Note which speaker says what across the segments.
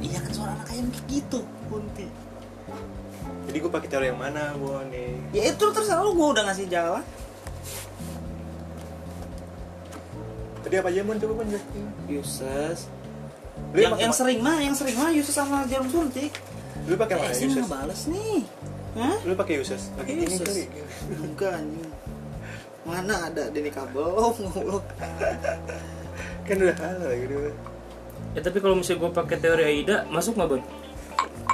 Speaker 1: Iya kan, gitu.
Speaker 2: gue pakai teori yang mana Bon nih
Speaker 1: ya itu terserah lu gue udah ngasih jalan
Speaker 2: tadi apa aja Bon coba Bon jelasin.
Speaker 1: uses
Speaker 2: Lu
Speaker 1: yang,
Speaker 2: pakai
Speaker 1: yang
Speaker 2: ma-
Speaker 1: sering mah yang sering mah uses sama jarum suntik
Speaker 2: lu
Speaker 1: eh
Speaker 2: pakai mana
Speaker 1: sih
Speaker 2: Yuses
Speaker 1: nggak balas nih Hah?
Speaker 2: lu pakai Yuses pakai ini
Speaker 1: Yuses.
Speaker 2: kali
Speaker 1: Enggak anjing. Mana ada Denny Kabel Oh, ngoblok.
Speaker 2: kan udah halal gitu
Speaker 3: ya tapi kalau misalnya gue pakai teori Aida masuk nggak bon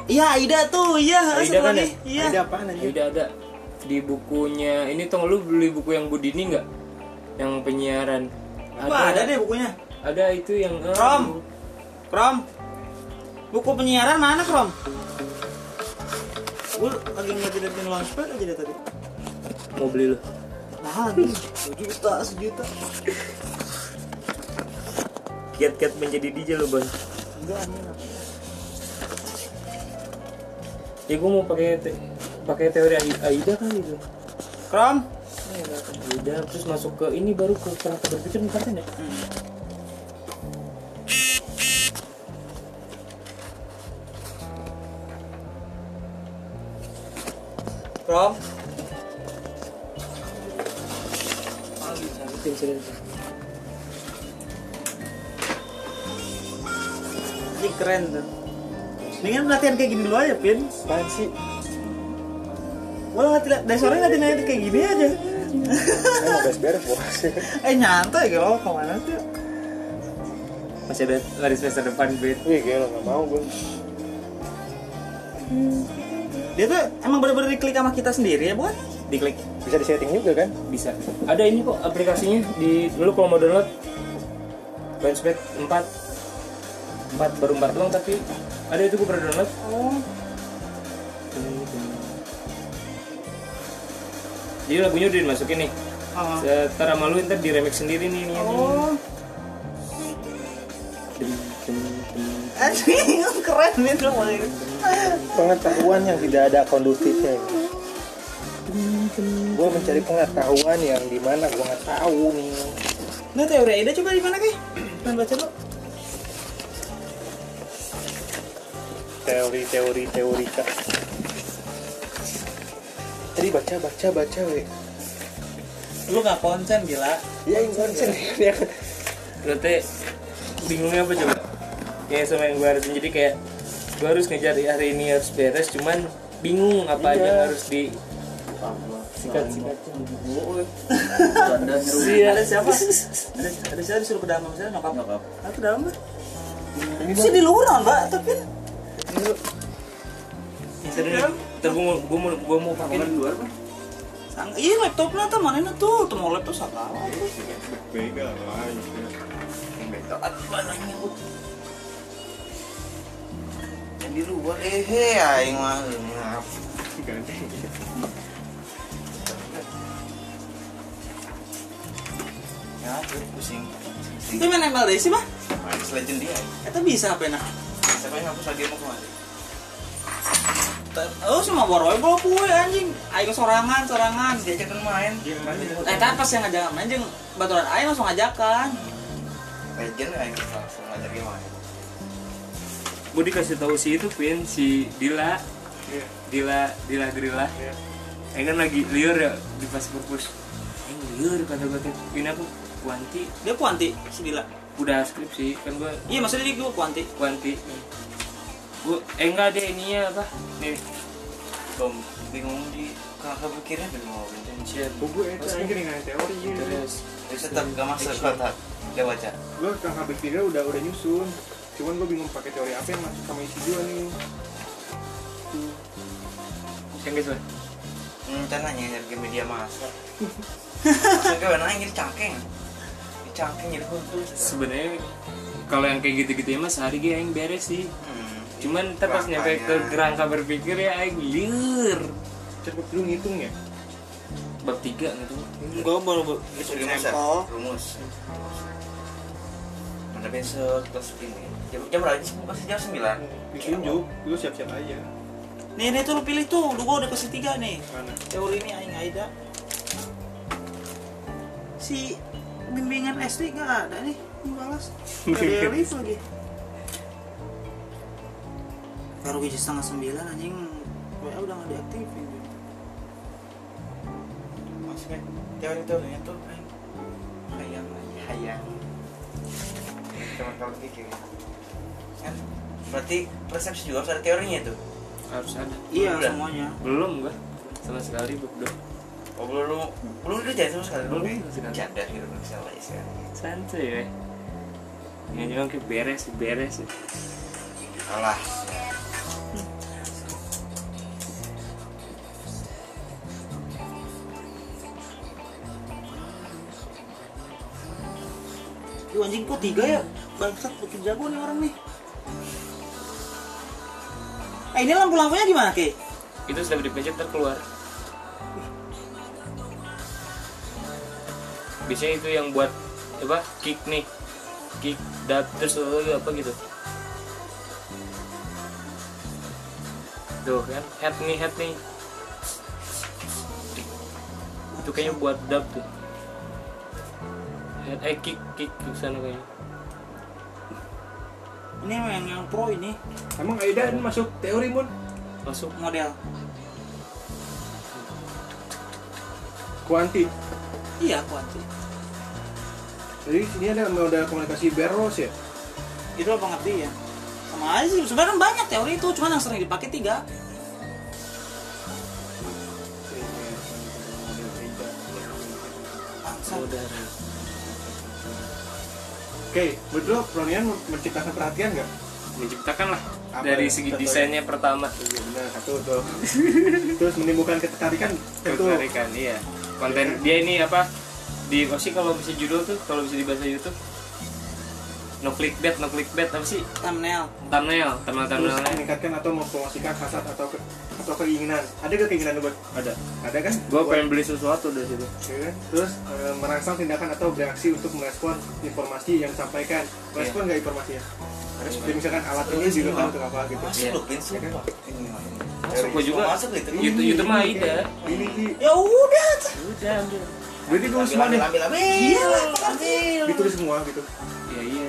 Speaker 1: Iya, Aida tuh, iya,
Speaker 3: Aida
Speaker 1: satu
Speaker 3: kan
Speaker 1: lagi.
Speaker 3: ya?
Speaker 1: Iya.
Speaker 2: ada apaan aja
Speaker 3: Aida ada di bukunya ini tong lu beli buku yang Budini nggak yang penyiaran
Speaker 1: Wah, ada deh bukunya.
Speaker 3: ada itu yang eh,
Speaker 1: Rom. Krom. Buku penyiaran mana, Krom? Gue lagi ngeliatin launchpad aja dari tadi.
Speaker 3: mau beli lu
Speaker 1: Mahal anjing. Sejuta, sejuta.
Speaker 3: kiat-kiat menjadi DJ lu bon
Speaker 1: Enggak anjing. apa.
Speaker 3: ya gue mau pakai te- pakai teori Ai- Aida kan gitu
Speaker 1: Krom.
Speaker 3: Aida terus masuk ke ini baru ke kenapa berpikir nih kartun ya
Speaker 1: Krom.
Speaker 3: Bikin serius.
Speaker 1: Ini keren tuh. Mendingan latihan kayak gini dulu aja, Pin.
Speaker 2: apaan sih
Speaker 1: Gue latihan dari sore latihan latihan kayak gini aja.
Speaker 2: Emang mau beres-beres bos
Speaker 1: Eh nyantai kalau kemana sih?
Speaker 3: masih ada lari semester depan bet
Speaker 2: wih gila gak mau gue
Speaker 1: Dia tuh emang bener-bener diklik sama kita sendiri ya buat?
Speaker 3: diklik
Speaker 2: bisa disetting juga kan
Speaker 3: bisa ada ini kok aplikasinya di lu kalau mau download Launchpad 4 4 baru 4 doang tapi ada itu gue pernah download
Speaker 1: Oh.
Speaker 3: jadi lagunya udah dimasukin nih
Speaker 1: Oh.
Speaker 3: Setara sama lu ntar di remix sendiri nih nih, nih.
Speaker 1: Oh.
Speaker 3: Dem, dem, dem.
Speaker 1: Anjing, keren nih tuh mulai.
Speaker 2: pengetahuan yang tidak ada kondusifnya gue mencari pengetahuan yang dimana gue nggak tahu nih
Speaker 1: Nah teori Aida coba di mana kek? Pengen baca lu.
Speaker 2: teori teori teori kak tadi baca baca baca weh
Speaker 1: Lu nggak konsen gila.
Speaker 2: ya yang konsen dia kan
Speaker 3: Berarti bingungnya apa coba? Kayak sama yang gue harus jadi kayak gue harus ngejar hari ini harus beres, cuman bingung apa aja yang harus di sikat sikat
Speaker 4: Anda
Speaker 3: Iya.
Speaker 1: Ada siapa? Ada, ada siapa disuruh ke dalam sama saya nyokap?
Speaker 4: Nyokap.
Speaker 1: Aku ke dalam mbak. Bisa di luar non mbak, tapi.
Speaker 3: Ntar gue mau gue mau gue mau pakai
Speaker 4: di luar kan?
Speaker 1: Sang, iya laptopnya tuh mana nih tuh? Tuh mau laptop siapa?
Speaker 2: beda lah
Speaker 4: Yang di luar eh he aing mah eh, ngap. Ya, gue pusing.
Speaker 1: Itu main MLDC mah?
Speaker 4: Main legend dia.
Speaker 1: Itu bisa apa enak?
Speaker 4: Siapa yang hapus lagi mau kemana?
Speaker 1: Oh semua baru bawa kue anjing. Ayo sorangan sorangan.
Speaker 4: Diajakin main.
Speaker 3: Iya,
Speaker 4: Kan Main di
Speaker 1: Eh tapi pas yang ngajak main jeng baturan aing langsung ngajakan.
Speaker 4: Legend aing langsung ngajakin main.
Speaker 3: gue dikasih tahu si itu Queen si Dila Dila Dila Grilla
Speaker 2: Iya.
Speaker 3: Eh kan lagi liur ya di pas purpus Aing Eh, liur kata gue tuh Queen aku Wanti
Speaker 1: Dia kuanti sebila.
Speaker 3: udah skripsi kan gue
Speaker 1: Iya maksudnya dia gue kuanti.
Speaker 3: Wanti gue eh enggak deh ininya apa nih
Speaker 4: Bom, bingung di kakak pikirnya bingung mau bingung.
Speaker 3: shit
Speaker 2: gue itu aja dengan teori
Speaker 3: ya, terus
Speaker 4: Terus tetap gak masuk kotak. Gak baca.
Speaker 2: gue kakak berpikir udah udah nyusun cuman gue bingung pakai teori apa yang masuk sama isi gue nih
Speaker 3: yang gitu. guys lah
Speaker 4: rencananya energi media massa maksudnya gue nanya jadi cangkeng jadi cangkeng jadi khusus
Speaker 3: sebenarnya kalau yang kayak gitu-gitu ya mas sehari gue yang beres sih
Speaker 4: hmm.
Speaker 3: cuman ntar pas nyampe ke
Speaker 4: Makanya.
Speaker 3: kerangka berpikir ya aing liur
Speaker 2: coba dulu ngitung ya
Speaker 3: bab tiga gitu
Speaker 1: Gue baru
Speaker 4: itu rumus ya? rumus mana besok terus ini jam, jam berapa sih masih jam sembilan
Speaker 2: Hmm. ditunjuk lu siap siap aja
Speaker 1: Nih nih tuh lu pilih tuh. Lu gue udah kasih tiga nih.
Speaker 2: mana
Speaker 1: Teori ini aing Aida. Si bimbingan SD gak ada nih. Ini balas. Dari Elif lagi. Baru jam setengah sembilan anjing WA udah nggak diaktifin Jun.
Speaker 4: maksudnya teori-teorinya tuh kan hayang hayang teman-teman pikir ya. kan berarti persepsi juga harus ada teorinya tuh
Speaker 3: harus ada
Speaker 1: iya
Speaker 4: Udah.
Speaker 1: semuanya
Speaker 3: belum gua sama sekali belum
Speaker 4: oh belum lu belum lu jadi sama sekali
Speaker 3: Belum,
Speaker 4: kayak
Speaker 3: sama sekali.
Speaker 4: janda gitu belum salah ya sekarang
Speaker 3: santai ya ya jangan ke beres ke beres ya.
Speaker 4: alah
Speaker 1: Duh anjing kok tiga ya? Bangsat bikin jago nih orang nih. Eh ini lampu-lampunya gimana, Ki?
Speaker 3: itu sudah dipencet terkeluar biasanya itu yang buat apa kick nih kick dap terus lalu apa gitu tuh kan head nih head nih itu kayaknya buat dap tuh head eh kick kick ke sana kayaknya
Speaker 1: Ini emang yang, yang pro ini
Speaker 2: Emang Aidan masuk teori mun?
Speaker 3: masuk
Speaker 1: model.
Speaker 2: Kuanti.
Speaker 1: Iya, aku anti.
Speaker 2: Jadi ini ada modal komunikasi Berros ya.
Speaker 1: Itu apa ngerti ya? Sama aja sih, sebenarnya banyak teori itu, cuman yang sering dipakai tiga.
Speaker 2: Iya,
Speaker 1: Bangsat.
Speaker 3: saudara
Speaker 2: Oke, betul Pronian menciptakan perhatian nggak?
Speaker 3: menciptakan lah
Speaker 2: Apa
Speaker 3: dari
Speaker 2: ya,
Speaker 3: segi
Speaker 2: contohnya?
Speaker 3: desainnya pertama
Speaker 2: Iya benar satu tuh. Terus menimbulkan ketertarikan satu.
Speaker 3: ketertarikan iya konten dia ini apa di apa sih kalau bisa judul tuh kalau bisa dibahas di YouTube no clickbait no clickbait apa sih
Speaker 1: Thumbnail.
Speaker 3: thumbnail thumbnail
Speaker 2: Terus
Speaker 3: thumbnailnya
Speaker 2: meningkatkan atau mempromosikan hasrat atau ke- atau keinginan. Ada gak keinginan lu buat? Ada. Ada kan?
Speaker 3: gue
Speaker 2: Buat-
Speaker 3: pengen beli sesuatu dari situ
Speaker 2: Ya kan? Terus eh, merangsang tindakan atau bereaksi untuk merespon informasi yang disampaikan. Respon nggak informasinya? Jadi misalkan alat ini
Speaker 4: Terus
Speaker 2: digunakan
Speaker 4: ini,
Speaker 2: untuk apa gitu?
Speaker 4: masuk
Speaker 3: Iya.
Speaker 4: lu pin sumpah ini mah ini.
Speaker 3: Masuk gua juga.
Speaker 4: Mau masuk gitu
Speaker 3: Iya. YouTube- YouTube mah ada.
Speaker 2: Ini sih.
Speaker 1: Ya udah.
Speaker 3: udah ambil
Speaker 2: Berarti dulu
Speaker 4: ambil
Speaker 2: semua
Speaker 4: ambil
Speaker 2: nih.
Speaker 4: ambil ambil
Speaker 1: Iya lah, ambil.
Speaker 2: Ditulis semua gitu.
Speaker 3: ya iya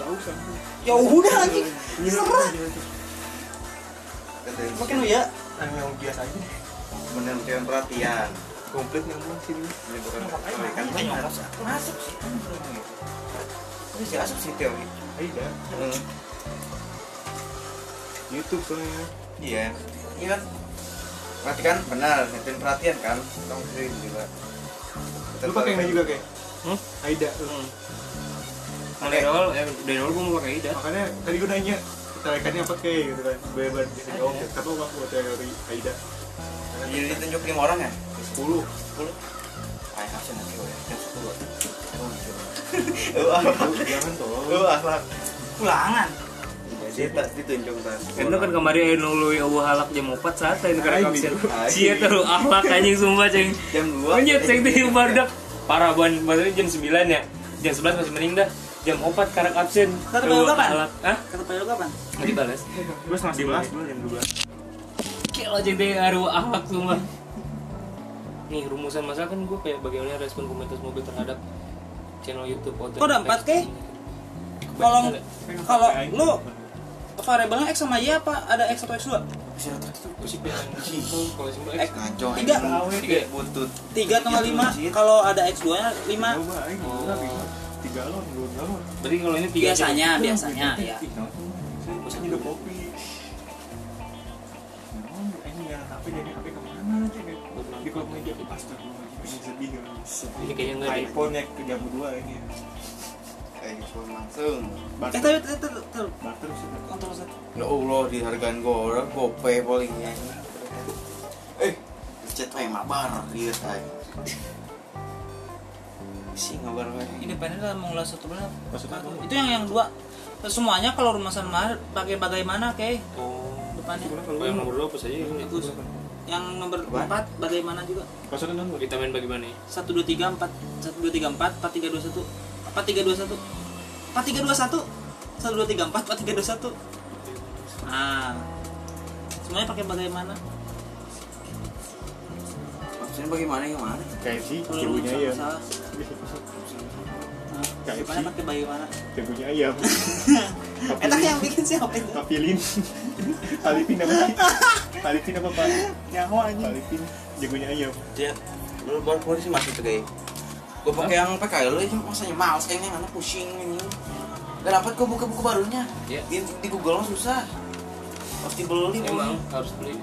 Speaker 2: Tahu sama.
Speaker 1: Ya udah anjing.
Speaker 2: Iya.
Speaker 1: Serah.
Speaker 4: Katanya,
Speaker 1: Makin lu ya.
Speaker 2: Yang biasa aja.
Speaker 4: menentukan perhatian
Speaker 2: Komplit yang mana sini?
Speaker 4: menimbulkan
Speaker 1: Ngapain
Speaker 4: ketertarikan
Speaker 1: lagi?
Speaker 4: benar
Speaker 1: Masuk.
Speaker 4: masuk sih ini sih masuk sih teori
Speaker 2: Aida.
Speaker 4: Hmm.
Speaker 2: YouTube soalnya.
Speaker 4: Iya. Iya kan? Berarti kan benar, nyetin perhatian kan? Kamu sering juga.
Speaker 2: Lu pakai ini juga kayak?
Speaker 3: Hmm?
Speaker 2: Aida. lu.
Speaker 3: hmm. mulai awal eh, dari awal gue mau pakai ida
Speaker 2: Makanya tadi gue nanya tarikannya apa kayak gitu kan. Beban di sini. Oh, kata lu aku teori Aida.
Speaker 4: Jadi ditunjuk lima Iya, orang ya?
Speaker 2: 10
Speaker 4: Sepuluh. Ah, harusnya nanti gue ya. Jam sepuluh. ah.
Speaker 2: Lu jangan
Speaker 4: Lu ah,
Speaker 2: tolong.
Speaker 4: akhlak.
Speaker 1: Pulangan.
Speaker 4: Dia tak ditunjuk kan?
Speaker 3: itu kan kemarin ayo nului awu halak jam 4 saat ini
Speaker 2: Ay,
Speaker 3: karena kapsen
Speaker 2: gitu.
Speaker 3: cia terlalu akhlak anjing sumpah ceng
Speaker 4: Jam dua.
Speaker 3: Menyet ceng tuh yang baru dah parah banget maksudnya jam 9 ya jam 11 masih mending dah jam 4 karena absen
Speaker 1: Ntar bayar kapan?
Speaker 3: Ahlak. Hah?
Speaker 1: Kata Pak Yoga, Pan.
Speaker 3: Nggak dibalas
Speaker 2: Gue setengah sebelas, gue jam 12
Speaker 3: Kelo jadi aru akhlak semua. Nih rumusan masalah kan gue kayak bagaimana respon komunitas mobil terhadap channel YouTube
Speaker 1: Kok ada empat, Keh? Kalau kalau lu variabelnya X sama Y apa ada X atau X2?
Speaker 4: Eh, ngaco.
Speaker 1: Tiga.
Speaker 4: anjing. Tiga butut.
Speaker 1: 3 tambah 5 kalau ada X2 nya 5
Speaker 2: Coba, ayo
Speaker 3: Oh.
Speaker 2: nggak bisa. Tiga galon, dua galon
Speaker 3: Berarti kalau ini tiga
Speaker 1: biasanya biasanya ya
Speaker 2: Tiga galon. Saya pesan juga kopi Nah, ini nggak ada HP, jadi HP kemana aja deh. Di klub meja, astagfirullah, ini sedih kan.
Speaker 3: Ini kayaknya nggak deh.
Speaker 2: iPhone yang ke jam 2 ini ya.
Speaker 4: Kayak gitu langsung.
Speaker 1: eh
Speaker 2: Barter,
Speaker 1: tapi tapi tapi- tapi-
Speaker 2: barter sudah.
Speaker 1: kontrol satu
Speaker 4: Ya Allah, di hargaan gue orang gope paling nyanyi. Eh, chat wae iya, mabar dia tay. Si ngabar wae.
Speaker 1: independen lah mulai satu bulan
Speaker 2: Maksudnya apa?
Speaker 1: itu yang yang dua semuanya kalau rumah sama pakai bagaimana Keh depannya
Speaker 3: Oh, yang nomor dua apa saja ini?
Speaker 1: itu yang nomor
Speaker 4: Apaan?
Speaker 1: 4 bagaimana juga
Speaker 2: Maksudnya non,
Speaker 3: Kita main bagaimana
Speaker 1: 1
Speaker 3: ya?
Speaker 1: 2 3 4 1 2 3 4 4 3 2 1 4 3 2 1 4 3 2 1 1 2 3 4 4 3 2 1 nah semuanya pakai bagaimana
Speaker 4: Maksudnya bagaimana yang mana?
Speaker 2: kayak sih,
Speaker 1: kalau
Speaker 2: ibunya
Speaker 1: rumah
Speaker 2: iya. ayam
Speaker 1: sama salah Nah,
Speaker 2: KFC.
Speaker 1: depannya pakai bagaimana
Speaker 2: Ibunya ayam
Speaker 1: ya? Enak yang bikin siapa itu?
Speaker 2: Kapilin Alipin namanya Palipin apa Pak?
Speaker 1: nyawa anjing
Speaker 2: Palipin jagonya ayam.
Speaker 4: dia lu baru keluar sih masih tuh guys gue pakai yang PKL lu itu masanya males kayaknya karena pusing ini gak dapat gue buka buku barunya
Speaker 3: Iya.
Speaker 4: di, di Google mah susah harus dibeli
Speaker 3: emang harus beli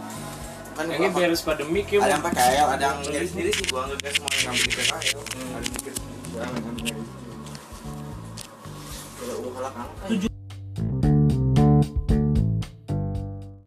Speaker 4: kan
Speaker 3: kayaknya
Speaker 4: gua-
Speaker 3: beres pandemik ya
Speaker 4: ada yang
Speaker 3: Bang.
Speaker 4: PKL ada yang nyari sendiri sih gue nggak semua yang ambil di PKL ada yang mikir kalau gue kalah kan
Speaker 1: Tujuh.